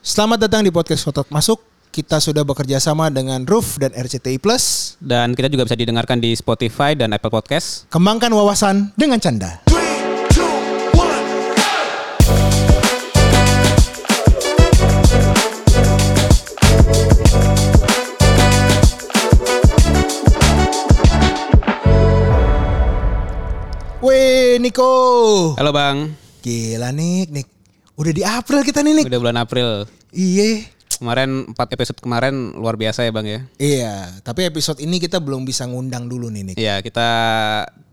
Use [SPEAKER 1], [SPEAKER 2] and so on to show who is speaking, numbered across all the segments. [SPEAKER 1] Selamat datang di podcast Kotak Masuk. Kita sudah bekerja sama dengan Roof dan RCTI Plus.
[SPEAKER 2] Dan kita juga bisa didengarkan di Spotify dan Apple Podcast.
[SPEAKER 1] Kembangkan wawasan dengan canda. Weh Niko.
[SPEAKER 2] Halo Bang,
[SPEAKER 1] Gila Nik, Nik. Udah di April kita nih Nik.
[SPEAKER 2] udah bulan April.
[SPEAKER 1] Iya.
[SPEAKER 2] Kemarin 4 episode kemarin luar biasa ya Bang ya.
[SPEAKER 1] Iya, tapi episode ini kita belum bisa ngundang dulu nih Nik.
[SPEAKER 2] Iya, kita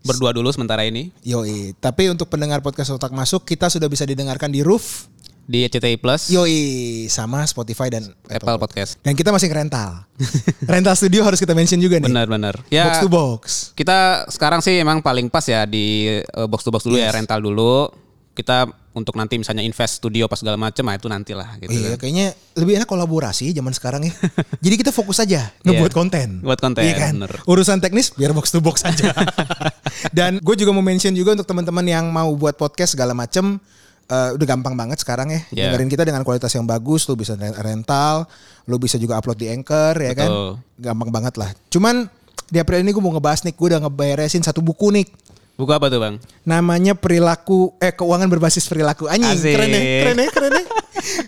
[SPEAKER 2] berdua dulu sementara ini
[SPEAKER 1] Yoi, tapi untuk pendengar podcast Otak Masuk kita sudah bisa didengarkan di Roof.
[SPEAKER 2] di CTI Plus,
[SPEAKER 1] Yoi, sama Spotify dan
[SPEAKER 2] Apple Podcast.
[SPEAKER 1] Dan kita masih rental. rental studio harus kita mention juga nih.
[SPEAKER 2] Benar-benar.
[SPEAKER 1] Box
[SPEAKER 2] Ya,
[SPEAKER 1] to box.
[SPEAKER 2] kita sekarang sih emang paling pas ya di eh, box to box dulu ya, rental dulu. Kita untuk nanti misalnya invest studio pas segala macem, ah itu nantilah gitu.
[SPEAKER 1] Iya, kayaknya lebih enak kolaborasi zaman sekarang ya. Jadi kita fokus aja ngebuat
[SPEAKER 2] Iya.
[SPEAKER 1] konten.
[SPEAKER 2] Buat konten,
[SPEAKER 1] Iya kan?
[SPEAKER 2] bener.
[SPEAKER 1] Urusan teknis biar box to box aja. Dan gue juga mau mention juga untuk teman-teman yang mau buat podcast segala macem. eh, udah gampang banget sekarang ya.
[SPEAKER 2] Iya.
[SPEAKER 1] Dengerin kita dengan kualitas yang bagus. Lu bisa rent- rental. Lu bisa juga upload di Anchor ya kan.
[SPEAKER 2] Betul.
[SPEAKER 1] Gampang banget lah. Cuman di April ini gue mau ngebahas nih. Gue udah ngeberesin satu buku nih.
[SPEAKER 2] Buku apa tuh Bang?
[SPEAKER 1] namanya perilaku eh keuangan berbasis perilaku anjing
[SPEAKER 2] Asik.
[SPEAKER 1] keren ya keren ya keren ya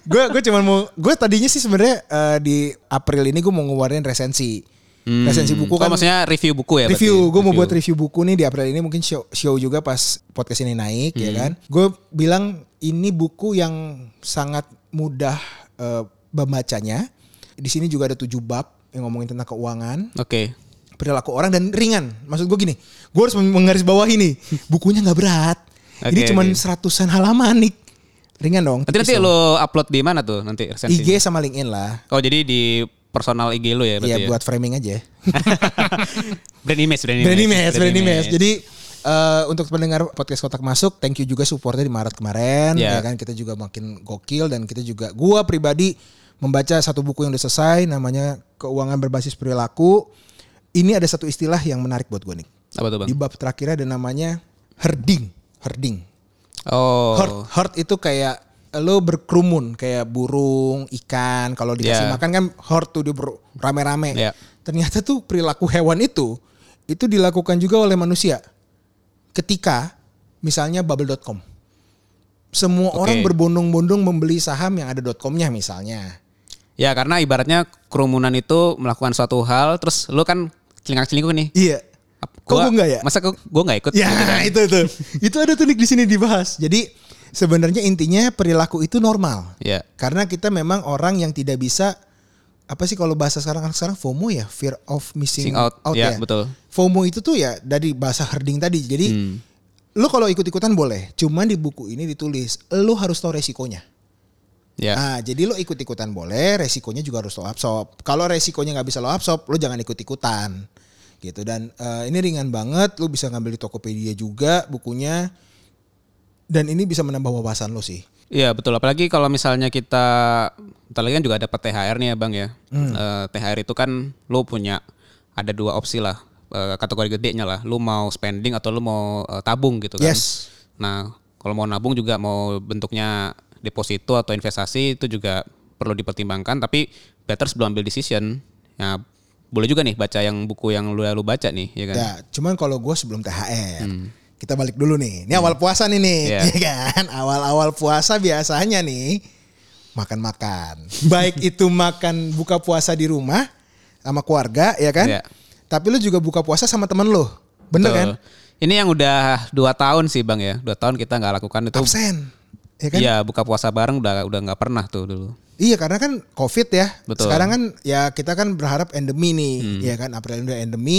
[SPEAKER 1] gue gue cuman mau gue tadinya sih sebenarnya eh, di April ini gue mau ngeluarin resensi resensi buku
[SPEAKER 2] Oh,
[SPEAKER 1] kan
[SPEAKER 2] maksudnya review buku ya?
[SPEAKER 1] review
[SPEAKER 2] berarti?
[SPEAKER 1] gue mau buat review buku nih di April ini mungkin show, show juga pas podcast ini naik
[SPEAKER 2] Hmm.
[SPEAKER 1] ya kan gue bilang ini buku yang sangat mudah eh, membacanya di sini juga ada tujuh bab yang ngomongin tentang keuangan
[SPEAKER 2] Oke.
[SPEAKER 1] perilaku orang dan ringan. Maksud gue gini, gue harus menggaris bawah ini. Bukunya nggak berat. ini
[SPEAKER 2] Oke,
[SPEAKER 1] cuman
[SPEAKER 2] oke.
[SPEAKER 1] seratusan halaman nih. Ringan dong.
[SPEAKER 2] Nanti nanti lo upload di mana tuh nanti resensi?
[SPEAKER 1] IG sama LinkedIn lah.
[SPEAKER 2] Oh jadi di personal IG lo ya berarti
[SPEAKER 1] Iya
[SPEAKER 2] ya?
[SPEAKER 1] buat framing aja.
[SPEAKER 2] brand image, brand image.
[SPEAKER 1] Brand image, brand image.
[SPEAKER 2] Jadi
[SPEAKER 1] Jadi eh, untuk pendengar podcast kotak masuk, thank you juga supportnya di Maret kemarin.
[SPEAKER 2] Iya.
[SPEAKER 1] Ya kan kita juga makin gokil dan kita juga gua pribadi membaca satu buku yang udah selesai namanya keuangan berbasis perilaku. Ini ada satu istilah yang menarik buat gue nih.
[SPEAKER 2] apa tuh bang?
[SPEAKER 1] Di bab terakhir ada namanya herding, herding.
[SPEAKER 2] Oh,
[SPEAKER 1] Herd, herd itu kayak lo berkerumun kayak burung, ikan. Kalau dikasih
[SPEAKER 2] Yeah.
[SPEAKER 1] makan kan herd tuh dia ber- rame-rame.
[SPEAKER 2] Yeah.
[SPEAKER 1] Ternyata tuh perilaku hewan itu itu dilakukan juga oleh manusia. Ketika misalnya bubble.com. Semua
[SPEAKER 2] Oke.
[SPEAKER 1] orang berbondong-bondong membeli saham yang ada .com-nya misalnya.
[SPEAKER 2] ya karena ibaratnya kerumunan itu melakukan suatu hal, terus lo kan celingak celingku nih.
[SPEAKER 1] Iya.
[SPEAKER 2] Ap-
[SPEAKER 1] Kok gua nggak ya?
[SPEAKER 2] Masa kok gue nggak ikut? Gitu kan?
[SPEAKER 1] Ya itu tuh. itu ada tuh Nick, di sini dibahas. Jadi sebenarnya intinya perilaku itu normal.
[SPEAKER 2] Iya.
[SPEAKER 1] Karena kita memang orang yang tidak bisa apa sih kalau bahasa sekarang anak sekarang FOMO ya fear of missing
[SPEAKER 2] Missing out. Ya, betul. Hmm.
[SPEAKER 1] FOMO itu tuh ya dari bahasa herding tadi. Jadi lu kalau ikut-ikutan boleh, cuman di buku ini ditulis lu harus tahu resikonya.
[SPEAKER 2] Ya.
[SPEAKER 1] Nah, jadi lo ikut-ikutan boleh, resikonya juga harus lo absorb. Kalau resikonya nggak bisa lo absorb, lo jangan ikut-ikutan. Gitu dan eh, ini ringan banget, lo bisa ngambil di Tokopedia juga bukunya. Dan ini bisa menambah wawasan lo sih.
[SPEAKER 2] Iya betul. Apalagi kalau misalnya kita, bentar lagi kan juga dapat THR nih ya bang ya.
[SPEAKER 1] Hmm.
[SPEAKER 2] Eh, THR itu kan lu punya ada dua opsi lah eh, kategori gedenya lah. Lu mau spending atau lu mau eh, tabung gitu kan.
[SPEAKER 1] Yes.
[SPEAKER 2] Nah kalau mau nabung juga mau bentuknya deposito atau investasi itu juga perlu dipertimbangkan. Tapi better sebelum ambil decision. Ya boleh juga nih baca yang buku yang lu lu baca nih ya kan. Hmm.
[SPEAKER 1] Ya, cuman kalau gue sebelum THR, kita balik dulu nih. Ini awal puasa nih nih,
[SPEAKER 2] Iya.
[SPEAKER 1] ya kan? Awal-awal puasa biasanya nih makan-makan. Baik itu makan buka puasa di rumah sama keluarga, ya kan?
[SPEAKER 2] Iya.
[SPEAKER 1] Tapi lu juga buka puasa sama temen lu, bener kan?
[SPEAKER 2] Betul. Ini yang udah dua tahun sih bang ya. Dua tahun kita nggak lakukan itu.
[SPEAKER 1] Absen, ya kan?
[SPEAKER 2] Iya buka puasa bareng udah udah nggak pernah tuh dulu.
[SPEAKER 1] Iya karena kan COVID ya.
[SPEAKER 2] Betul. Hmm.
[SPEAKER 1] Sekarang kan ya kita kan berharap endemi nih, ya kan? April ini udah endemi.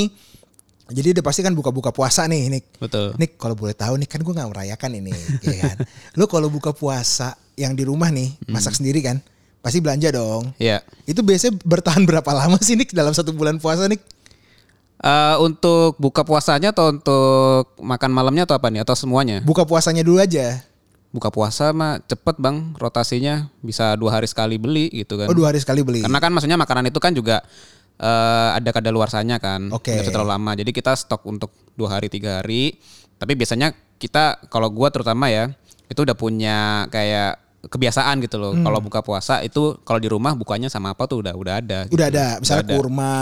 [SPEAKER 1] Jadi udah pasti kan buka-buka puasa nih, Nick.
[SPEAKER 2] Betul.
[SPEAKER 1] Nih kalau boleh tahu nih kan gue nggak merayakan ini, ya kan? Lu kalau buka puasa yang di rumah nih
[SPEAKER 2] Hmm.
[SPEAKER 1] masak sendiri kan, pasti belanja dong.
[SPEAKER 2] Iya.
[SPEAKER 1] Itu biasanya bertahan berapa lama sih Nik dalam satu bulan puasa Nik?
[SPEAKER 2] Eh, untuk buka puasanya atau untuk makan malamnya atau apa nih atau semuanya?
[SPEAKER 1] Buka puasanya dulu aja.
[SPEAKER 2] Buka puasa mah cepet bang rotasinya bisa dua hari sekali beli gitu kan.
[SPEAKER 1] Oh dua hari sekali beli.
[SPEAKER 2] Karena kan maksudnya makanan itu kan juga eh, ada kadaluarsanya kan.
[SPEAKER 1] Oke.
[SPEAKER 2] Nggak bisa terlalu lama. Jadi kita stok untuk dua hari tiga hari. Tapi biasanya kita kalau gua terutama ya itu udah punya kayak kebiasaan gitu loh.
[SPEAKER 1] Hmm.
[SPEAKER 2] Kalau buka puasa itu kalau di rumah bukanya sama apa tuh udah udah ada. gitu.
[SPEAKER 1] Udah ada misalnya kurma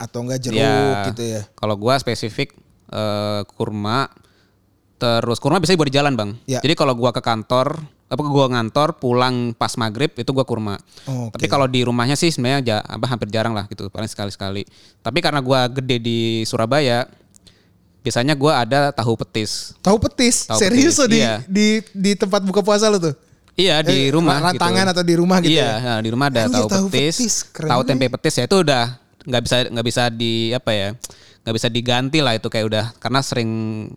[SPEAKER 1] atau enggak jeruk
[SPEAKER 2] Ya,
[SPEAKER 1] gitu ya.
[SPEAKER 2] Kalau gua spesifik eh, kurma terus kurma bisa buat di jalan, Bang.
[SPEAKER 1] Ya.
[SPEAKER 2] Jadi kalau gua ke kantor apa gua ngantor pulang pas maghrib itu gua kurma.
[SPEAKER 1] Oke.
[SPEAKER 2] Tapi kalau di rumahnya sih sebenarnya ja- apa hampir jarang lah gitu, paling sekali-sekali. Tapi karena gua gede di Surabaya, biasanya gua ada tahu petis.
[SPEAKER 1] Tahu petis,
[SPEAKER 2] Tahu
[SPEAKER 1] serius
[SPEAKER 2] petis,
[SPEAKER 1] lo di,
[SPEAKER 2] iya.
[SPEAKER 1] di di tempat buka puasa lo tuh.
[SPEAKER 2] Iya di
[SPEAKER 1] Eh,
[SPEAKER 2] rumah gitu.
[SPEAKER 1] rantangan atau di rumah gitu
[SPEAKER 2] Iya, nah, di rumah ada
[SPEAKER 1] Anjir,
[SPEAKER 2] tahu
[SPEAKER 1] tahu
[SPEAKER 2] petis,
[SPEAKER 1] petis, keren
[SPEAKER 2] tahu
[SPEAKER 1] juga
[SPEAKER 2] tempe petis ya itu udah nggak bisa nggak bisa di apa ya nggak bisa diganti lah itu kayak udah karena sering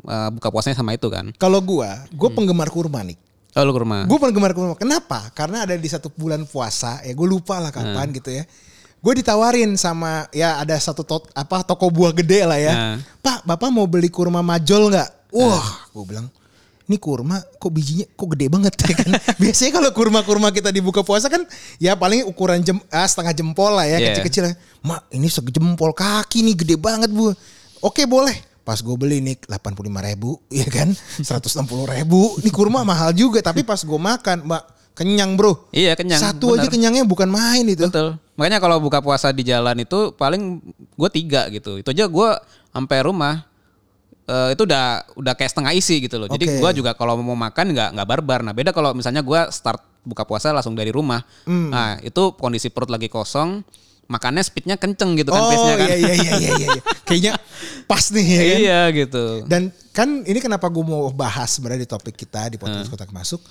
[SPEAKER 2] eh, buka puasanya sama itu kan.
[SPEAKER 1] Kalau gua, gua penggemar kurma nih.
[SPEAKER 2] Oh, lu ke rumah.
[SPEAKER 1] Gue penggemar kurma. Kenapa? Karena ada di satu bulan puasa, ya gue lupa lah kapan
[SPEAKER 2] Nah.
[SPEAKER 1] gitu ya. Gue ditawarin sama ya ada satu tot, apa toko buah gede lah ya.
[SPEAKER 2] Nah.
[SPEAKER 1] Pak, bapak mau beli kurma majol nggak? Wah, gue bilang ini kurma kok bijinya kok gede banget ya kan. Biasanya kalau kurma-kurma kita dibuka puasa kan ya paling ukuran jem, ah, setengah jempol lah ya
[SPEAKER 2] Iya.
[SPEAKER 1] kecil-kecil. ya. Mak ini sejempol kaki nih gede banget bu. Oke boleh. Pas gue beli nih 85 ribu ya kan 160 ribu. Ini kurma mahal juga tapi pas gue makan mbak kenyang bro.
[SPEAKER 2] Iya kenyang.
[SPEAKER 1] Satu aja
[SPEAKER 2] bener.
[SPEAKER 1] kenyangnya bukan main itu.
[SPEAKER 2] Betul. Makanya kalau buka puasa di jalan itu paling gue tiga gitu. Itu aja gue sampai rumah eh, itu udah udah kayak setengah isi gitu loh. Jadi
[SPEAKER 1] Oke.
[SPEAKER 2] gua juga kalau mau makan nggak nggak barbar. Nah beda kalau misalnya gua start buka puasa langsung dari rumah.
[SPEAKER 1] Hmm.
[SPEAKER 2] Nah itu kondisi perut lagi kosong, makannya speednya kenceng gitu kan
[SPEAKER 1] Oh
[SPEAKER 2] pace-nya kan.
[SPEAKER 1] iya iya iya iya iya. Kayaknya pas nih ya kan.
[SPEAKER 2] iya gitu.
[SPEAKER 1] Dan kan ini kenapa gue mau bahas sebenarnya di topik kita di podcast
[SPEAKER 2] Hmm.
[SPEAKER 1] kotak masuk.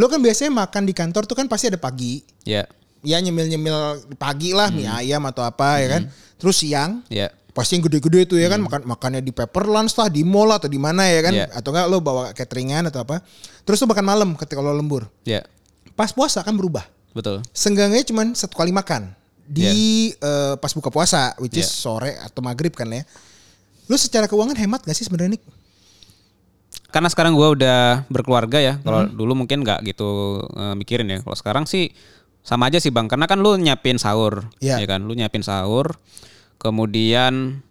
[SPEAKER 1] Lo kan biasanya makan di kantor tuh kan pasti ada pagi.
[SPEAKER 2] Ya,
[SPEAKER 1] Ya nyemil-nyemil pagi lah mie
[SPEAKER 2] Hmm.
[SPEAKER 1] ayam atau apa ya kan. Terus siang
[SPEAKER 2] ya.
[SPEAKER 1] pasti yang gede-gede tuh ya kan makan makannya di paper lunch lah di mall atau di mana ya kan
[SPEAKER 2] Hmm. Iya.
[SPEAKER 1] atau enggak lo bawa cateringan atau apa terus lo makan malam ketika lo lembur
[SPEAKER 2] Ya,
[SPEAKER 1] pas puasa kan berubah
[SPEAKER 2] betul.
[SPEAKER 1] Senggangannya cuma satu kali makan
[SPEAKER 2] Iya.
[SPEAKER 1] di eh, pas buka puasa which is sore atau maghrib kan ya lo secara keuangan hemat gak sih sebenarnya Nick?
[SPEAKER 2] karena sekarang gua udah berkeluarga ya
[SPEAKER 1] Hmm.
[SPEAKER 2] kalau dulu mungkin nggak gitu eh, mikirin ya kalau sekarang sih sama aja sih bang karena kan lu nyiapin sahur
[SPEAKER 1] Iya.
[SPEAKER 2] ya kan lu nyiapin sahur kemudian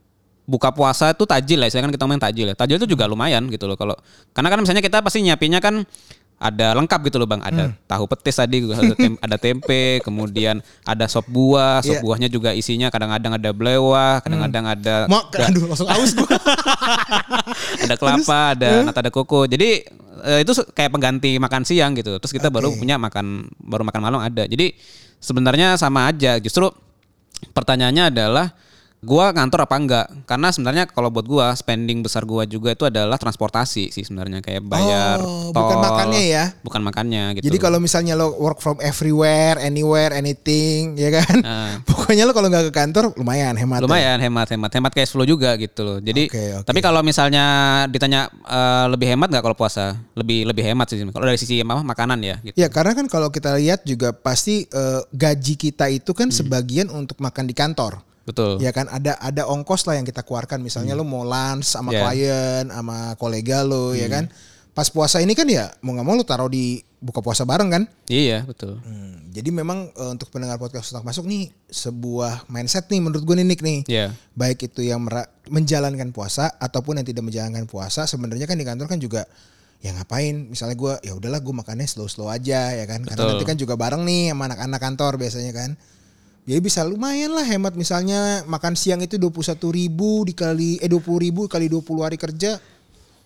[SPEAKER 2] buka puasa itu tajil ya saya kan kita main tajil ya tajil itu juga lumayan gitu loh kalau karena kan misalnya kita pasti nyiapinnya kan ada lengkap gitu loh bang
[SPEAKER 1] Hmm.
[SPEAKER 2] ada tahu petis tadi ada tem- ada tempe kemudian ada sop buah sop
[SPEAKER 1] Iya. Hmm.
[SPEAKER 2] buahnya juga isinya kadang-kadang ada belewah kadang-kadang ada
[SPEAKER 1] Mak, aduh langsung aus gue.
[SPEAKER 2] ada kelapa, ada nata, ada koko. Jadi eh, itu se- kayak pengganti makan siang gitu. Terus kita baru punya makan baru makan malam ada. Jadi sebenarnya sama aja. Justru pertanyaannya adalah gua ngantor apa enggak? Karena sebenarnya kalau buat gua spending besar gua juga itu adalah transportasi sih sebenarnya kayak bayar
[SPEAKER 1] Oh,
[SPEAKER 2] tol.
[SPEAKER 1] bukan makannya ya?
[SPEAKER 2] Bukan makannya gitu.
[SPEAKER 1] Jadi kalau misalnya lo work from everywhere, anywhere, anything, ya kan? Pokoknya lo kalau nggak ke kantor lumayan hemat.
[SPEAKER 2] Ah. Lumayan hemat hemat hemat cash flow juga gitu loh. Jadi
[SPEAKER 1] Oke, oke.
[SPEAKER 2] tapi kalau misalnya ditanya eh, lebih hemat nggak kalau puasa? Lebih lebih hemat sih kalau dari sisi apa makanan ya gitu.
[SPEAKER 1] Ya karena kan kalau kita lihat juga pasti eh, gaji kita itu kan sebagian untuk makan di kantor.
[SPEAKER 2] Betul.
[SPEAKER 1] Ya kan ada ada ongkos lah yang kita keluarkan misalnya lo mau lunch sama
[SPEAKER 2] Yeah.
[SPEAKER 1] klien sama kolega lo ya kan. Pas puasa ini kan ya mau nggak mau lo taruh di buka puasa bareng kan.
[SPEAKER 2] Iya betul.
[SPEAKER 1] Hmm, jadi memang eh, untuk pendengar podcast Ustaz masuk nih sebuah mindset nih menurut gue nih Nick nih.
[SPEAKER 2] Iya.
[SPEAKER 1] baik itu yang mera- menjalankan puasa ataupun yang tidak menjalankan puasa sebenarnya kan di kantor kan juga ya ngapain misalnya gua ya udahlah gue makannya slow slow aja ya kan karena
[SPEAKER 2] Betul.
[SPEAKER 1] nanti kan juga bareng nih sama anak-anak kantor biasanya kan jadi bisa lumayan lah hemat misalnya makan siang itu dua ribu dikali eh dua ribu kali 20 hari kerja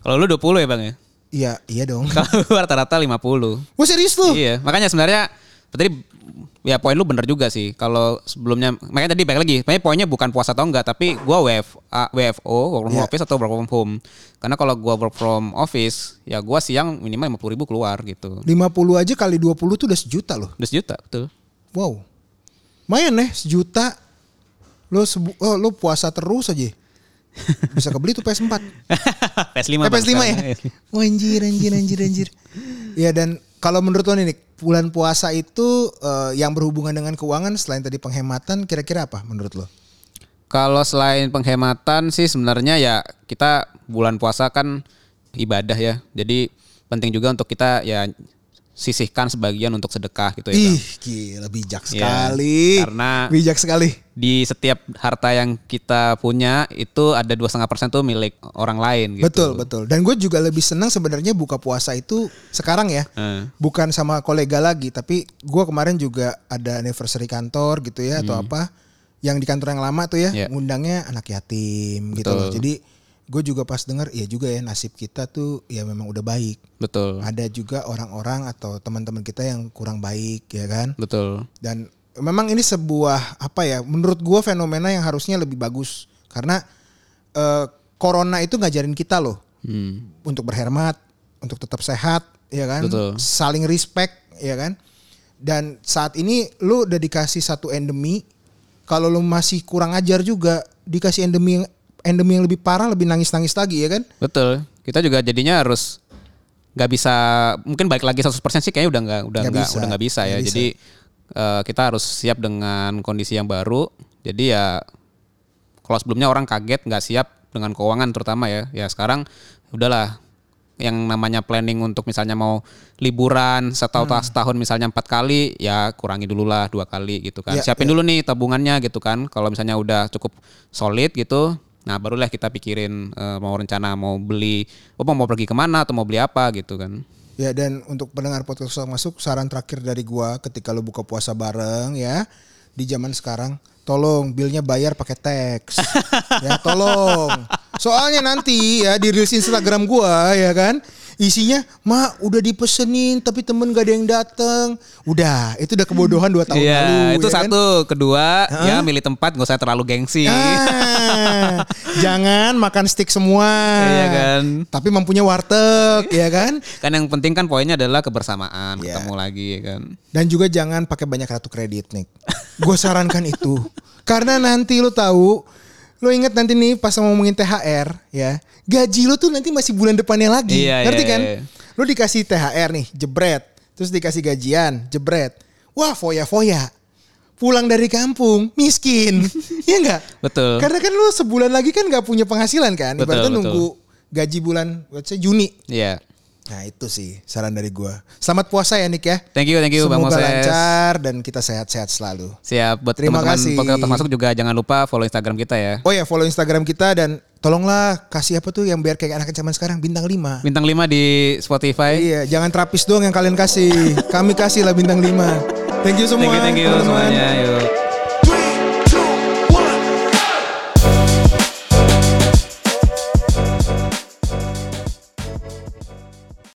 [SPEAKER 2] Kalau lu 20 ya bang ya.
[SPEAKER 1] iya iya dong
[SPEAKER 2] Kalau gua rata-rata 50.
[SPEAKER 1] Wah serius tuh
[SPEAKER 2] Iya. Makanya sebenarnya tadi ya poin lu bener juga sih. Kalau sebelumnya makanya tadi balik lagi. Makanya poinnya bukan puasa atau enggak, tapi gua WF, ah, WFO, work from
[SPEAKER 1] Iya.
[SPEAKER 2] office atau work from home. Karena kalau gua work from office, ya gua siang minimal 50 ribu keluar gitu.
[SPEAKER 1] 50 aja kali 20 tuh udah sejuta loh
[SPEAKER 2] Udah sejuta betul.
[SPEAKER 1] wow lumayan nih sejuta lo sebu- oh, lo puasa terus aja bisa kebeli tuh PS 4
[SPEAKER 2] PS5.
[SPEAKER 1] Eh,
[SPEAKER 2] Bang,
[SPEAKER 1] PS5 ya?
[SPEAKER 2] sekarang.
[SPEAKER 1] Oh, anjir, anjir, anjir, anjir. ya dan kalau menurut lo nih Nick, bulan puasa itu eh, yang berhubungan dengan keuangan selain tadi penghematan kira-kira apa menurut lo?
[SPEAKER 2] Kalau selain penghematan sih sebenarnya ya kita bulan puasa kan ibadah ya. Jadi penting juga untuk kita ya sisihkan sebagian untuk sedekah gitu ya Bang.
[SPEAKER 1] Ih, gila bijak sekali.
[SPEAKER 2] Iya, karena-
[SPEAKER 1] bijak sekali.
[SPEAKER 2] Di setiap harta yang kita punya itu ada dua setengah persen tuh milik orang lain gitu.
[SPEAKER 1] Betul, betul. Dan gue juga lebih senang sebenarnya buka puasa itu sekarang ya.
[SPEAKER 2] Eh.
[SPEAKER 1] Bukan sama kolega lagi, tapi gue kemarin juga ada anniversary kantor gitu ya
[SPEAKER 2] Hmm.
[SPEAKER 1] atau apa yang di kantor yang lama tuh ya,
[SPEAKER 2] Iya.
[SPEAKER 1] ngundangnya anak yatim gitu
[SPEAKER 2] Betul.
[SPEAKER 1] loh. Jadi gue juga pas denger ya juga ya nasib kita tuh ya memang udah baik.
[SPEAKER 2] Betul.
[SPEAKER 1] Ada juga orang-orang atau teman-teman kita yang kurang baik ya kan.
[SPEAKER 2] Betul.
[SPEAKER 1] Dan memang ini sebuah apa ya? Menurut gue fenomena yang harusnya lebih bagus karena eh, corona itu ngajarin kita loh
[SPEAKER 2] Hmm.
[SPEAKER 1] untuk berhemat, untuk tetap sehat, ya kan?
[SPEAKER 2] Betul.
[SPEAKER 1] Saling respect, ya kan? Dan saat ini lu udah dikasih satu endemi, kalau lu masih kurang ajar juga dikasih endemi yang endemi yang lebih parah, lebih nangis-nangis lagi, ya kan?
[SPEAKER 2] Betul. Kita juga jadinya harus nggak bisa mungkin balik lagi 100% sih kayaknya udah nggak udah
[SPEAKER 1] Nggak
[SPEAKER 2] nggak
[SPEAKER 1] bisa.
[SPEAKER 2] udah nggak bisa ya.
[SPEAKER 1] Nggak bisa.
[SPEAKER 2] Jadi eh, kita harus siap dengan kondisi yang baru. Jadi ya kalau sebelumnya orang kaget nggak siap dengan keuangan terutama ya. Ya sekarang udahlah yang namanya planning untuk misalnya mau liburan setahun
[SPEAKER 1] Hmm.
[SPEAKER 2] setahun misalnya empat kali ya kurangi dulu lah dua kali gitu
[SPEAKER 1] Ya,
[SPEAKER 2] kan siapin dulu nih tabungannya gitu kan kalau misalnya udah cukup solid gitu nah barulah kita pikirin eh, mau rencana mau beli apa mau pergi kemana atau mau beli apa gitu kan
[SPEAKER 1] Ya dan untuk pendengar podcast Ruang masuk saran terakhir dari gua ketika lu buka puasa bareng ya di zaman sekarang tolong bilnya bayar pakai teks ya tolong soalnya nanti ya di reels Instagram gua ya kan isinya ma udah dipesenin tapi temen gak ada yang dateng udah itu udah kebodohan dua tahun lalu
[SPEAKER 2] Iya itu
[SPEAKER 1] ya kan?
[SPEAKER 2] satu kedua ya milih tempat nggak usah terlalu gengsi
[SPEAKER 1] Ah, jangan makan stick semua
[SPEAKER 2] Iya kan.
[SPEAKER 1] tapi mampunya warteg ya kan
[SPEAKER 2] kan yang penting kan poinnya adalah kebersamaan
[SPEAKER 1] Iya.
[SPEAKER 2] ketemu lagi ya kan
[SPEAKER 1] Dan juga jangan pakai banyak kartu kredit, Nick. Gue sarankan itu. Karena nanti lu tahu, lu inget nanti nih pas ngomongin THR, ya. Gaji lu tuh nanti masih bulan depannya lagi.
[SPEAKER 2] Iya,
[SPEAKER 1] Ngerti
[SPEAKER 2] iya,
[SPEAKER 1] kan?
[SPEAKER 2] iya.
[SPEAKER 1] Lu dikasih THR nih, jebret. Terus dikasih gajian, jebret. Wah, foya-foya. Pulang dari kampung, miskin. Iya enggak?
[SPEAKER 2] Betul.
[SPEAKER 1] Karena kan lu sebulan lagi kan nggak punya penghasilan kan.
[SPEAKER 2] Betul,
[SPEAKER 1] Ibaratnya
[SPEAKER 2] betul.
[SPEAKER 1] nunggu gaji bulan, let's say Juni.
[SPEAKER 2] Iya.
[SPEAKER 1] Nah itu sih saran dari gue. Selamat puasa ya Nick ya.
[SPEAKER 2] Thank you, thank you Bang
[SPEAKER 1] Semoga
[SPEAKER 2] Moses.
[SPEAKER 1] lancar dan kita sehat-sehat selalu.
[SPEAKER 2] Siap buat
[SPEAKER 1] Terima
[SPEAKER 2] teman-teman
[SPEAKER 1] kasih.
[SPEAKER 2] podcast termasuk juga jangan lupa follow Instagram kita ya.
[SPEAKER 1] Oh ya follow Instagram kita dan tolonglah kasih apa tuh yang biar kayak anak zaman sekarang bintang 5.
[SPEAKER 2] Bintang 5 di Spotify.
[SPEAKER 1] Iya, jangan terapis doang yang kalian kasih. Kami kasih lah bintang 5. Thank you semua.
[SPEAKER 2] Thank you, thank you
[SPEAKER 1] teman-teman.
[SPEAKER 2] semuanya. Yuk.